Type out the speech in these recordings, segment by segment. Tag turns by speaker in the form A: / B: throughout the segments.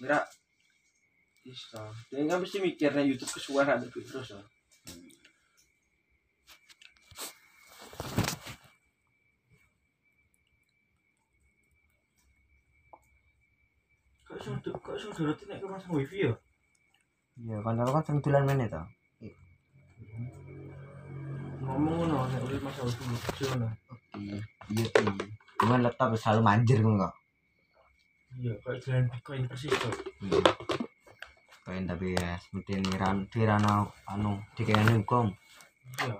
A: Mira. Iso. Dia kan mesti mikirnya YouTube kesuara ada duit terus loh.
B: Kok iso kok iso dorot nek ke masang wifi ya?
C: Iya, kan aku kan sering dolan meneh ta.
B: Ngomong ngono nek urip masang wifi yo ngono.
C: Iya, iya. Cuman laptop selalu manjir kok.
B: Iya, kok jalan Bitcoin persis to.
C: Iya. Pengen tapi ya, mungkin ran tirana anu dikene hukum.
B: Iya.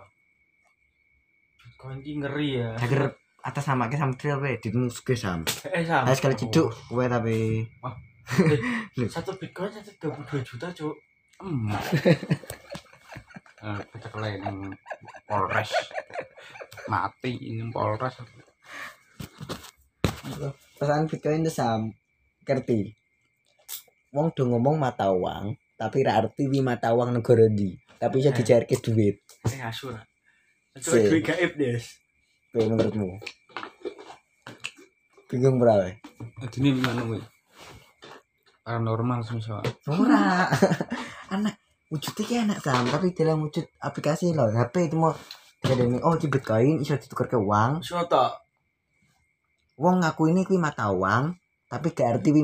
B: Bitcoin ki ngeri ya.
C: Agar atas sama ke sama trio we di nuske sam.
B: Eh, sam.
C: Ayo sekali ceduk we tapi
B: Satu Bitcoin satu 32 juta, Cuk.
A: Emak. Eh, kita kelain yang Polres. Mati ini Polres.
C: pesan Bitcoin itu sam ngerti. Wong do ngomong mata uang, tapi ra arti wi mata uang negara di. Tapi iso
B: Eh.
C: dicairke duit.
B: Eh, asu lah. Cuk,
C: Si.
B: duit gaib, Des.
C: Kuwi menurutmu. Bingung ora we?
A: Jadi ini gimana gue? Paranormal semisal.
C: Ora. anak wujudnya kayak anak sam, tapi dalam wujud aplikasi loh HP itu mau Dikadani, oh ci Bitcoin iso ditukar ke uang
B: Asu to.
C: wong ngaku ini kuwi mata uang tapi gak arti wi